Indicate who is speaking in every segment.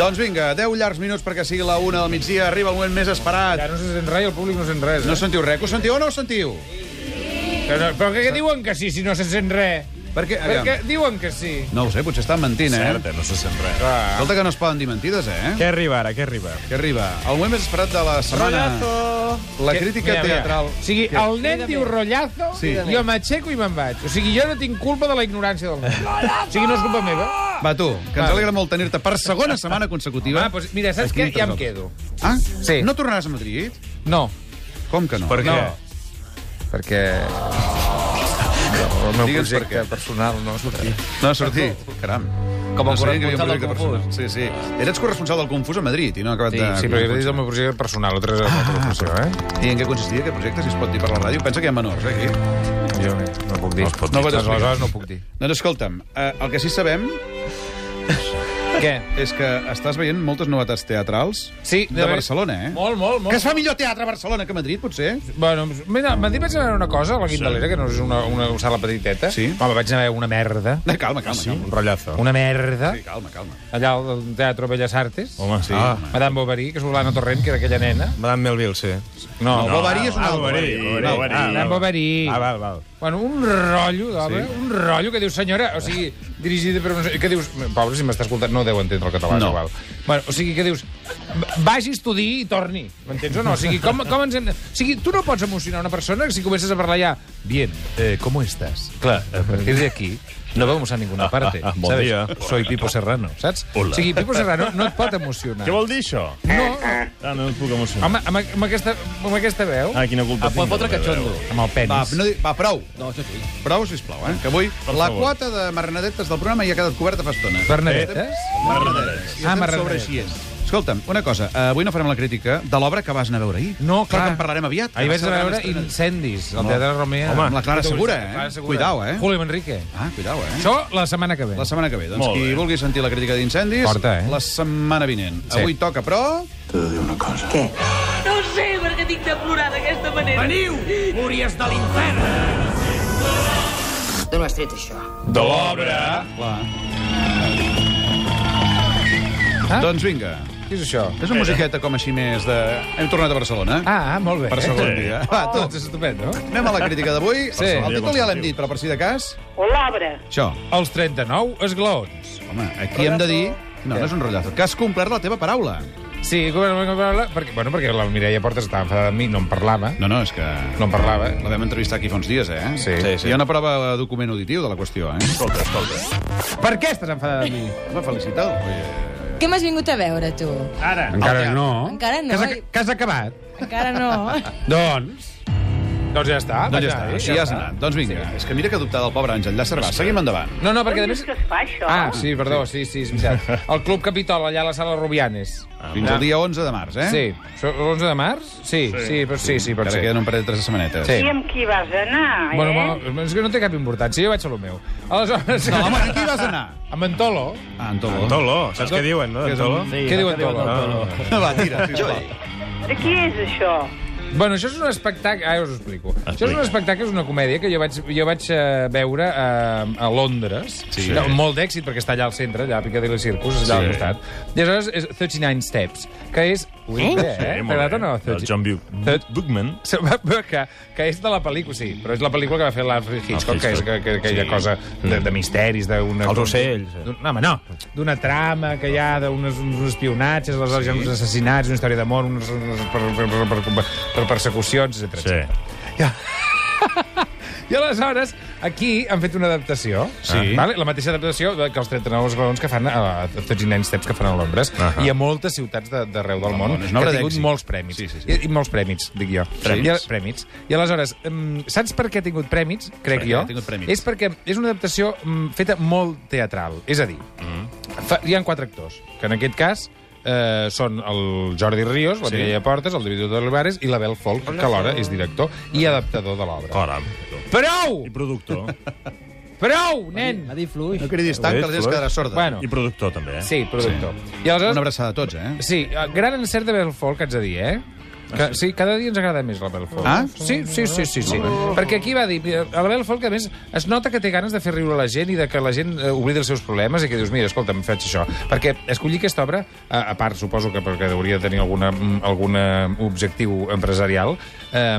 Speaker 1: Doncs vinga, 10 llargs minuts perquè sigui la 1 del migdia. Arriba el moment més
Speaker 2: Ja
Speaker 1: esperat.
Speaker 2: no se sent res i el públic no sent res.
Speaker 1: No
Speaker 2: Eh?
Speaker 1: sentiu res? Que ho sentiu o no ho sentiu?
Speaker 2: Que no, però què diuen que sí si no se sent res?
Speaker 1: Perquè,
Speaker 2: Perquè
Speaker 1: aviam,
Speaker 2: diuen que sí.
Speaker 1: no ho sé, potser estan mentint, eh?
Speaker 3: Certa, no se sent res.
Speaker 2: Clar.
Speaker 1: Escolta que no es poden dir mentides, eh?
Speaker 3: Què arriba ara, què arriba?
Speaker 1: Que arriba. El moment més esperat de la setmana. La crítica
Speaker 2: Mira, mira.
Speaker 1: teatral.
Speaker 2: O sigui, el nen diu rotllazo,
Speaker 1: Sí.
Speaker 2: jo m'aixeco i me'n vaig. O sigui, jo no tinc culpa de la ignorància del nen. O sigui, no és culpa meva. Ah,
Speaker 1: Va, tu, que ens
Speaker 2: Va.
Speaker 1: alegra molt tenir-te per segona setmana consecutiva.
Speaker 2: Ah, doncs mira, saps
Speaker 1: Aquí
Speaker 2: què?
Speaker 1: entre
Speaker 2: Ja em
Speaker 1: tot.
Speaker 2: quedo.
Speaker 1: Ah?
Speaker 2: Sí.
Speaker 1: No tornaràs a Madrid?
Speaker 2: No.
Speaker 1: Com que no?
Speaker 3: Per què?
Speaker 4: Perquè... El meu
Speaker 1: Digue'ns per
Speaker 4: projecte
Speaker 1: què.
Speaker 4: personal no surt aquí.
Speaker 1: No ha sortit. Caram.
Speaker 4: Com a
Speaker 1: no sabia que hi havia un
Speaker 4: corresponsal del
Speaker 1: projecte
Speaker 4: Confús.
Speaker 1: personal. Sí, sí. Eres corresponsal del Confús a Madrid i Ah, no ha acabat
Speaker 4: Sí,
Speaker 1: de...
Speaker 4: sí,
Speaker 2: Sí, però jo he dit el meu projecte personal, altres és
Speaker 1: Ah.
Speaker 2: la professió, eh?
Speaker 1: I en què consistia aquest projecte, si es pot dir per la ràdio? Pensa que hi ha menors, eh, aquí.
Speaker 4: Jo no puc dir.
Speaker 3: No es pot dir.
Speaker 4: no,
Speaker 1: No ho
Speaker 4: no,
Speaker 1: pots explicar.
Speaker 4: aleshores no ho puc dir.
Speaker 1: Doncs escolta'm, eh, el que sí que sabem
Speaker 2: Què?
Speaker 1: és que estàs veient moltes novetats teatrals
Speaker 2: Sí,
Speaker 1: de Barcelona, eh?
Speaker 2: Molt, molt, molt.
Speaker 1: Que es fa millor teatre a Barcelona que a Madrid, potser?
Speaker 2: Bueno, mira, m'ha dit vaig anar a una cosa, a la Guindalera, que no és una, una sala petiteta.
Speaker 1: Sí.
Speaker 2: Home, vaig anar a veure una merda.
Speaker 1: No, Eh, calma,
Speaker 2: Ah,
Speaker 1: calma.
Speaker 3: Un
Speaker 1: calma.
Speaker 3: rotllazo.
Speaker 2: Una merda.
Speaker 1: Sí, calma, calma.
Speaker 2: Allà al Teatre Belles Artes.
Speaker 3: Home, sí.
Speaker 1: Ah.
Speaker 3: Ah.
Speaker 2: Madame Bovary, que és l'Anna Torrent, que era aquella nena.
Speaker 3: Madame Melville, sí.
Speaker 1: No, Bovary és un altre. No,
Speaker 2: Madame Bovary.
Speaker 3: Ah, val, val.
Speaker 2: Bueno, un rotllo d'obra, sí. un rotllo que dius, senyora, o sigui, dirigida per un... Que dius, pobre, si m'està escoltant, no deu entendre el català,
Speaker 1: No.
Speaker 2: no. igual. Bueno, o sigui, que dius, vagi, estudi i torni, m'entens o no? O sigui, com, com ens hem... de- O sigui, tu no pots emocionar una persona si comences a parlar ja, bien, eh, ¿cómo estás? Clar, a partir de aquí no vamos a ninguna parte,
Speaker 3: Ah, ah, bon
Speaker 2: ¿sabes?
Speaker 3: dia.
Speaker 2: Soy Pipo Serrano, saps?
Speaker 3: Hola.
Speaker 2: O sigui, Pipo Serrano no et pot emocionar.
Speaker 3: Què vol dir, això?
Speaker 2: No,
Speaker 3: Ah, no em puc emocionar.
Speaker 2: amb, amb, amb, aquesta, amb aquesta veu,
Speaker 3: Ah, quina culpa
Speaker 5: Ah, pot fotre catxondo.
Speaker 2: amb el
Speaker 1: Va,
Speaker 2: penis...
Speaker 1: no, di- va, prou.
Speaker 5: No, això sí.
Speaker 1: Prou, sisplau, eh? Que avui
Speaker 3: Per
Speaker 1: la
Speaker 3: favor.
Speaker 1: quota de marranedetes del programa ja ha quedat coberta fa estona.
Speaker 2: Bernadettes?
Speaker 1: Marranedetes.
Speaker 2: Ah,
Speaker 1: Ah,
Speaker 2: marranedetes.
Speaker 1: marranedetes. Sobre Escolta'm, una cosa, eh, avui no farem la crítica de l'obra que vas anar a veure ahir.
Speaker 2: No, clar.
Speaker 1: que en parlarem aviat.
Speaker 2: Ahir
Speaker 1: Va
Speaker 2: vaig
Speaker 1: ser la gran
Speaker 2: veure
Speaker 1: estrena.
Speaker 2: incendis al Teatre Romea.
Speaker 1: Home, amb la Clara Segura, eh?
Speaker 2: Clara Segura.
Speaker 1: Cuidao, eh?
Speaker 2: Julio Manrique.
Speaker 1: Ah, cuidao, eh?
Speaker 2: Això la setmana que ve.
Speaker 1: La setmana que ve. Doncs
Speaker 3: Molt
Speaker 1: qui
Speaker 3: bé.
Speaker 1: vulgui sentir la crítica d'incendis,
Speaker 2: Porta, eh?
Speaker 1: la setmana vinent.
Speaker 2: Sí.
Speaker 1: Avui toca, però...
Speaker 6: No ho sé, perquè tinc de plorar d'aquesta manera. Veniu!
Speaker 7: D'on ho has tret, això?
Speaker 3: De l'obra.
Speaker 1: Clar.
Speaker 2: Ah?
Speaker 1: Doncs vinga.
Speaker 2: Què és això?
Speaker 1: És una musiqueta com així més de... Hem tornat a Barcelona.
Speaker 2: Ah, molt bé.
Speaker 1: Per segon dia. Va, tu.
Speaker 2: Doncs és estupendo.
Speaker 1: Anem a la crítica d'avui.
Speaker 2: Sí.
Speaker 1: El títol ja l'hem dit, però per si de cas...
Speaker 6: O l'obra.
Speaker 1: Això.
Speaker 2: Els 39 esglaons.
Speaker 1: Home, aquí hem de dir... No, no és un rotllazo. Que has complert la teva paraula.
Speaker 2: Sí, com era la paraula? Perquè, bueno, perquè la Mireia Portes estava enfadada amb mi, no em parlava.
Speaker 1: No, no, és que...
Speaker 2: No em parlava.
Speaker 1: La vam entrevistar aquí fa uns dies, eh?
Speaker 2: Sí.
Speaker 3: Sí, sí.
Speaker 1: Hi ha una prova de document auditiu de la qüestió, eh?
Speaker 3: Escolta, escolta.
Speaker 2: Per què estàs enfadada amb mi?
Speaker 1: Home, felicitar-ho. Oye.
Speaker 8: Què m'has vingut a veure, tu?
Speaker 3: Ara.
Speaker 9: Encara no.
Speaker 8: Encara no.
Speaker 2: Que has, ac- que has acabat?
Speaker 8: Encara no.
Speaker 9: Doncs,
Speaker 2: Doncs ja està.
Speaker 1: Doncs
Speaker 2: vaig
Speaker 1: ja està,
Speaker 2: anar, eh?
Speaker 1: així ja has anat. Doncs vinga, és que mira que dubtar del pobre Àngel Llacerba. Seguim endavant.
Speaker 2: No, no, perquè
Speaker 6: On
Speaker 2: a més...
Speaker 6: és que es fa, això?
Speaker 2: Ah, sí, perdó, sí, sí, és veritat. El Club Capitol, allà a la sala Rubianes.
Speaker 1: Fins al dia 11 de març, eh?
Speaker 2: Sí. Això, L'11 de març? Sí, sí, sí, però sí, sí, pot
Speaker 1: Encara
Speaker 2: ser.
Speaker 1: queden un parell de tres setmanetes.
Speaker 2: Sí.
Speaker 6: I amb qui vas anar, eh?
Speaker 2: Bueno, bueno, és que no té cap importància, jo vaig a lo meu. Aleshores...
Speaker 1: No, home, amb qui vas anar?
Speaker 2: Amb en Tolo.
Speaker 1: Ah, en Tolo.
Speaker 3: Tolo, saps què diuen, no?
Speaker 1: Que
Speaker 3: De
Speaker 1: és un-
Speaker 3: Tolo?
Speaker 2: Què diu en Tolo? Ah.
Speaker 1: Va, tira, sisplau.
Speaker 6: De qui és això?
Speaker 2: Bueno, això és un espectacle... Ah, us ho explico. Això és un espectacle, és una comèdia que jo vaig, jo vaig eh, veure a, a Londres.
Speaker 1: Sí.
Speaker 2: No, amb molt d'èxit, perquè està allà al centre, allà a Piccadilly Circus, allà
Speaker 1: Sí.
Speaker 2: al costat. I aleshores és 39 Steps, que és... Ui, eh? eh?
Speaker 3: molt
Speaker 2: T'agrada
Speaker 3: bé.
Speaker 2: o
Speaker 3: Doncs
Speaker 2: no?
Speaker 3: El John Bu-
Speaker 2: Third-
Speaker 3: Bookman.
Speaker 2: Se va- va- que, que és de la pel·lícula, sí, però és la pel·lícula que va fer l'Alfred Hitchcock, que és que, que, aquella
Speaker 3: Sí.
Speaker 2: cosa de, de misteris, d'una...
Speaker 3: Els ocells.
Speaker 2: d'un- No, home, no. D'una trama que hi ha, d'uns uns espionatges, aleshores hi ha uns assassinats, una història d'amor, unes, unes per, per, per, per, per persecucions, etc.
Speaker 3: Sí.
Speaker 2: I aleshores, aquí han fet una adaptació. Ah.
Speaker 1: Sí.
Speaker 2: Vale? La mateixa adaptació de- que els 39 esglaons que fan eh, a, a 39 Steps que fan a Londres. Uh
Speaker 3: Ahà.
Speaker 2: -huh. I a moltes ciutats de- d'arreu del món
Speaker 1: món. És
Speaker 2: que
Speaker 1: una obra
Speaker 2: ha tingut
Speaker 1: d'èxit.
Speaker 2: molts premis.
Speaker 1: Sí, sí, sí.
Speaker 2: I, I molts premis, dic jo.
Speaker 1: Premis.
Speaker 2: I, ara- premis. I aleshores, um, saps per què ha tingut premis, crec
Speaker 1: Per què
Speaker 2: jo?
Speaker 1: ha tingut premis?
Speaker 2: És perquè és una adaptació mm, feta molt teatral. És a dir, mm. fa, hi ha quatre actors, que en aquest cas eh, són el Jordi Ríos, la sí. Mireia Portes, el David Olivares i l'Abel Folk, que alhora és director i adaptador de l'obra.
Speaker 3: Coram.
Speaker 2: Prou!
Speaker 3: I productor.
Speaker 2: Prou, nen!
Speaker 5: Ha dit fluix.
Speaker 1: No cridis tant, que la gent es quedarà sorda.
Speaker 2: Bueno,
Speaker 3: I productor, també, eh?
Speaker 2: sí, productor. Sí. I
Speaker 1: Una
Speaker 2: aleshores...
Speaker 1: abraçada a tots, eh?
Speaker 2: Sí, gran encert de Belfort, que haig de dir, eh? Que, sí, cada dia ens agrada més l'Abel Folk.
Speaker 1: Ah?
Speaker 2: Sí, sí, sí, sí. sí. Perquè aquí va dir... mira, L'Abel Folk, a més, es nota que té ganes de fer riure la gent i de que la gent eh, oblidi els seus problemes i que dius, mira, escolta, em faig això. Perquè escollir aquesta obra, a, a part, suposo que perquè hauria de tenir alguna, mm, algun eh, objectiu empresarial, eh,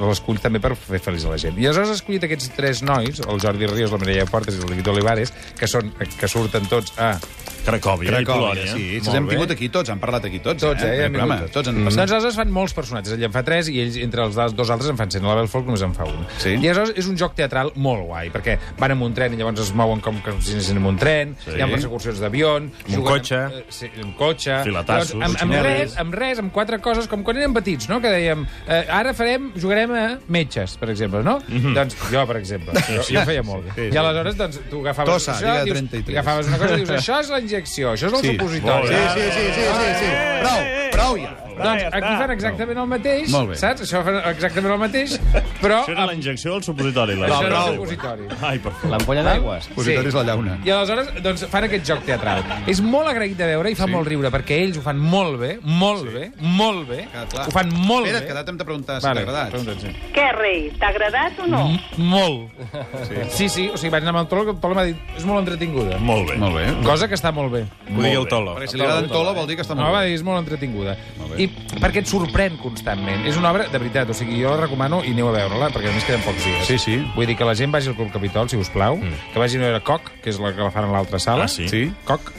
Speaker 2: l'escull també per fer feliç a la gent. I aleshores he escollit aquests tres nois, el Jordi Ríos, la Mireia Portes i el Liquid Olivares, que, són, que surten tots a
Speaker 3: Cracòvia,
Speaker 1: Cracòvia,
Speaker 3: i Polònia.
Speaker 1: sí.
Speaker 2: Molt
Speaker 1: Molt hem
Speaker 2: bé.
Speaker 1: vingut aquí tots, han parlat aquí tots.
Speaker 2: Tots,
Speaker 1: en
Speaker 2: eh? Ja
Speaker 1: el
Speaker 2: n'hi ha
Speaker 1: programa,
Speaker 2: hagut
Speaker 3: Mm.
Speaker 1: Tots han
Speaker 2: Doncs
Speaker 1: passat.
Speaker 2: aleshores fan molts personatges. Ell en fa tres i ells, entre els dos altres, en fan cent. L'Abel Folk només en fa un.
Speaker 1: Sí.
Speaker 2: I aleshores és un joc teatral molt guai, perquè van amb un tren i llavors es mouen com que si anessin amb un tren,
Speaker 3: Sí.
Speaker 2: hi ha persecucions d'avion...
Speaker 3: Amb un
Speaker 2: juguen
Speaker 3: cotxe.
Speaker 2: Amb, eh, sí, amb cotxe.
Speaker 3: Filatassos,
Speaker 2: Llavors, Amb, amb,
Speaker 1: cotxineres.
Speaker 2: res, amb res, amb quatre coses, com quan érem petits, no?, que dèiem... Eh, ara farem, jugarem a metges, per exemple, no? Doncs jo, per exemple. Jo, jo feia molt.
Speaker 3: Mhm. sí,
Speaker 2: I aleshores, doncs, tu agafaves
Speaker 1: Tossa,
Speaker 2: això,
Speaker 1: Lliga
Speaker 2: dius,
Speaker 1: 33.
Speaker 2: agafaves una cosa i dius, això és la injecció, això és el
Speaker 1: Sí.
Speaker 2: supositori.
Speaker 3: Molt bé.
Speaker 1: Sí, sí, sí, sí, sí. Eh, Prou, prou ja.
Speaker 2: Doncs aquí fan exactament el mateix,
Speaker 1: Molt bé.
Speaker 2: saps? Això fan exactament el mateix, però...
Speaker 3: Això era la injecció o el supositori? La
Speaker 2: Això era
Speaker 1: prou.
Speaker 2: el supositori.
Speaker 3: Ai, per favor.
Speaker 5: L'ampolla d'aigua.
Speaker 1: Supositori és la llauna.
Speaker 2: I aleshores doncs, fan aquest joc teatral. És molt agraït de veure i fa sí. molt riure, perquè ells ho fan molt bé, molt sí. bé, molt bé.
Speaker 1: Que, clar.
Speaker 2: Ho fan molt
Speaker 1: Espera't,
Speaker 2: bé.
Speaker 1: que ara t'hem de preguntar si t'ha agradat.
Speaker 2: pregunta't, sí.
Speaker 6: Què, rei? T'ha agradat o no?
Speaker 2: Molt. Sí. sí, sí, o sigui, vaig anar amb el Tolo, que el Tolo m'ha dit, és molt entretinguda.
Speaker 3: Molt bé.
Speaker 1: Molt bé.
Speaker 2: Cosa que està molt bé.
Speaker 3: Ho digui el Tolo.
Speaker 1: Perquè si li agrada en Tola vol dir que està
Speaker 2: No,
Speaker 1: molt
Speaker 2: va
Speaker 1: bé.
Speaker 2: dir, és molt entretinguda.
Speaker 1: Molt bé.
Speaker 2: I perquè et sorprèn constantment. És una obra, de veritat, o sigui, jo la recomano i aneu a veure-la, perquè a més queden pocs dies.
Speaker 1: Sí, sí.
Speaker 2: Vull dir que la gent vagi al Club Capitol, si us plau, mm. que vagin a veure Coc, que és la que la fan a l'altra sala.
Speaker 3: Ah, sí?
Speaker 1: Sí.
Speaker 2: Coc,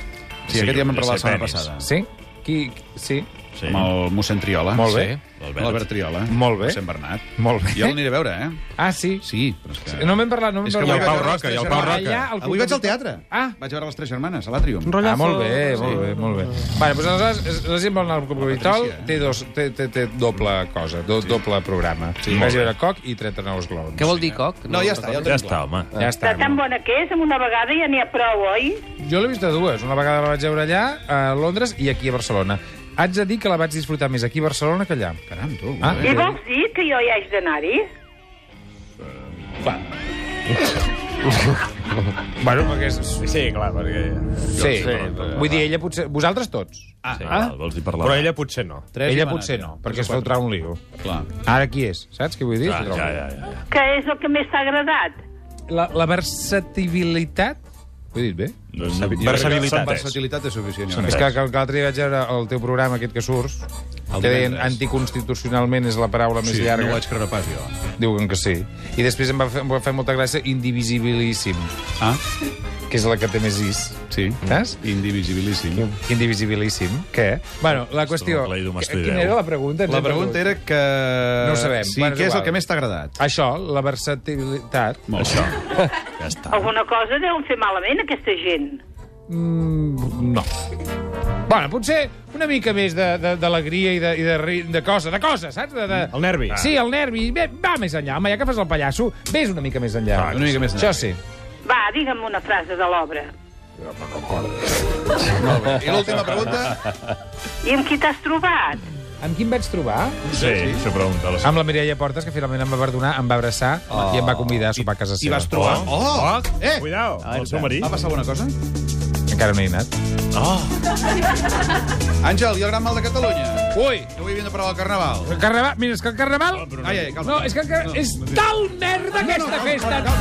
Speaker 1: Sí, aquest ja vam parlar la setmana
Speaker 3: Penis.
Speaker 1: passada.
Speaker 2: sí? Qui, sí?
Speaker 3: Sí.
Speaker 1: Amb el mossèn Triola.
Speaker 2: Molt bé.
Speaker 1: Sí. L'Albert Triola.
Speaker 2: Molt bé.
Speaker 1: Mossèn Bernat.
Speaker 2: Molt bé.
Speaker 1: Jo l'aniré a veure, eh?
Speaker 2: Ah, sí?
Speaker 1: Sí, però és que...
Speaker 2: No m'hem parlat, no
Speaker 1: Ah.
Speaker 2: m'hem
Speaker 1: És que avui
Speaker 2: parlat.
Speaker 1: vaig a veure
Speaker 3: Roca,
Speaker 1: les
Speaker 3: i el
Speaker 1: Tres
Speaker 3: Pau
Speaker 1: Germanes.
Speaker 3: Roca.
Speaker 2: Allà, al Club
Speaker 1: Avui vaig al
Speaker 2: Capitol.
Speaker 1: teatre.
Speaker 2: Ah.
Speaker 1: Vaig a veure les Tres Germanes, a l'Àtrium.
Speaker 2: Ah, molt bé, molt bé, molt bé. Vale, doncs aleshores, es- la gent vol anar al Club Capitol,
Speaker 1: Patricia, eh?
Speaker 2: té, dos, té, té, té doble cosa, do, doble programa. Sí,
Speaker 3: Molt
Speaker 2: Vagi a
Speaker 3: bé.
Speaker 2: veure Coc i 39 glons.
Speaker 5: Què vol dir, Coc?
Speaker 1: No, ja està, ja el
Speaker 3: Ja
Speaker 1: tenim.
Speaker 3: està, home.
Speaker 2: Ja està.
Speaker 6: De tan bona que és, amb una vegada ja n'hi ha prou, oi?
Speaker 2: Jo l'he vist de dues. Una vegada la vaig veure allà, a Londres, i aquí a Barcelona. Haig de dir que la vaig disfrutar més aquí a Barcelona que allà.
Speaker 1: Caram, tu.
Speaker 2: Ah.
Speaker 1: molt bé.
Speaker 6: I vols dir que jo hi haig d'anar-hi?
Speaker 2: Bueno, perquè és... Sí,
Speaker 3: Sí, clar, perquè...
Speaker 2: sí, vull dir, ella potser... Vosaltres tots.
Speaker 3: Ah, sí, ah? Vols dir parlar?
Speaker 4: ella potser no.
Speaker 1: Tres
Speaker 2: ella
Speaker 1: Germanes.
Speaker 2: potser no, perquè es fotrà un lío.
Speaker 1: Clar.
Speaker 2: Ara qui és? Saps què vull dir?
Speaker 3: Ah, Ja,
Speaker 2: Es fotrà un
Speaker 3: ja,
Speaker 2: lío.
Speaker 3: ja. ja.
Speaker 6: Que és el que més t'ha agradat?
Speaker 2: La, la versatilitat... Ho he dit bé?
Speaker 3: Doncs,
Speaker 1: Versatilitat.
Speaker 3: versabilitat.
Speaker 1: Versatilitat és suficient. jo
Speaker 2: És
Speaker 1: crec.
Speaker 2: que, que, que l'altre dia vaig veure el teu programa aquest que surts, que deien
Speaker 1: divendres.
Speaker 2: anticonstitucionalment és la paraula més
Speaker 1: Sí,
Speaker 2: llarga.
Speaker 1: no ho vaig creure pas, jo.
Speaker 2: Diuen que sí. I després em va fer, em va fer molta gràcia indivisibilíssim,
Speaker 1: Ah,
Speaker 2: que és la que té més is.
Speaker 1: sí.
Speaker 2: Saps?
Speaker 1: Indivisibilíssim.
Speaker 2: Indivisibilíssim. Mm. Què? Bueno, la qüestió...
Speaker 3: claidomastoideu.
Speaker 2: Quina era la pregunta? Ens
Speaker 1: La
Speaker 2: hem
Speaker 1: pregunta era
Speaker 2: perdut.
Speaker 1: que...
Speaker 2: No ho sabem.
Speaker 1: Sí,
Speaker 2: Bueno, és
Speaker 1: què és
Speaker 2: igual.
Speaker 1: el que més t'ha agradat?
Speaker 2: Això, la versatilitat...
Speaker 3: Això. Ja està.
Speaker 6: Alguna cosa deuen fer malament, aquesta gent.
Speaker 2: Mm, no. Bueno, potser una mica més de- de- d'alegria i, de, i de, ri- de cosa, de cosa, saps? De, de...
Speaker 3: El nervi.
Speaker 2: Sí, el nervi. Ve, va més enllà. Home, ja que fas el pallasso, vés una mica més enllà.
Speaker 1: Ah, una mica més
Speaker 2: Això
Speaker 1: enllà.
Speaker 2: sí.
Speaker 6: Va, digue'm una frase de l'obra.
Speaker 1: I l'última pregunta?
Speaker 6: I amb qui t'has trobat?
Speaker 2: Amb quin vaig trobar?
Speaker 3: Sí, Ah. això pregunta. La...
Speaker 2: Amb la Mireia Portes, que finalment em va perdonar, em va abraçar oh. i em va convidar a sopar a casa
Speaker 1: I
Speaker 2: seva.
Speaker 1: vas trobar... Oh!
Speaker 3: Oh!
Speaker 1: Eh!
Speaker 3: Cuidao, el seu marit.
Speaker 1: Va passar alguna cosa?
Speaker 2: Encara no he anat.
Speaker 1: Àngel, i el gran mal de Catalunya?
Speaker 2: Ui!
Speaker 1: Que avui havíem de parlar del Carnaval.
Speaker 2: El carnaval... Mira, és que el carnaval...
Speaker 1: Ai, ai, calma.
Speaker 2: No, és que el carnaval... És tal merda aquesta festa!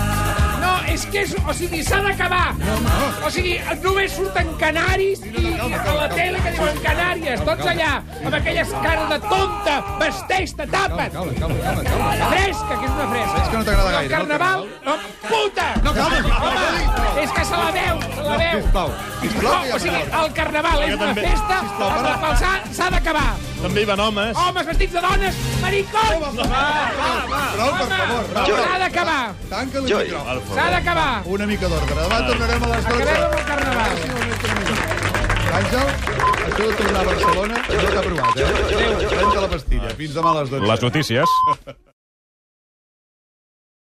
Speaker 2: No, és que és... O sigui, s'ha d'acabar! O sigui, només surten canaris i
Speaker 1: calma,
Speaker 2: a
Speaker 1: calma,
Speaker 2: la
Speaker 1: calma.
Speaker 2: tele que diuen Canàries, tots allà, amb aquelles cares de tonta, vesteix-te, tapa't!
Speaker 1: Calma, calma, calma, calma.
Speaker 2: Fresca, que és una fresca.
Speaker 1: És que no t'agrada
Speaker 2: No,
Speaker 1: gaire, no, el
Speaker 2: carnaval, no, puta! No,
Speaker 1: calma, calma, calma.
Speaker 2: És que se la veu, se la veu.
Speaker 1: Sisplau, sisplau, que hi
Speaker 2: No,
Speaker 1: ha
Speaker 2: o sigui,
Speaker 1: calor.
Speaker 2: el carnaval és una
Speaker 3: també.
Speaker 2: festa,
Speaker 1: Sisplau,
Speaker 2: amb la
Speaker 1: para.
Speaker 2: falsà s'ha d'acabar.
Speaker 3: També hi van homes.
Speaker 2: Homes vestits de dones, maricons!
Speaker 1: Prou, per favor. va, va.
Speaker 2: S'ha d'acabar,
Speaker 1: Tanca el micro.
Speaker 2: s'ha d'acabar.
Speaker 1: Una mica d'ordre. Demà tornarem a les 12.
Speaker 2: Acabem amb el carnaval.
Speaker 1: Àngel, això de tornar a Barcelona no t'ha provat, eh? Adéu. Prens a la pastilla. Fins demà a les 12.
Speaker 3: Les notícies.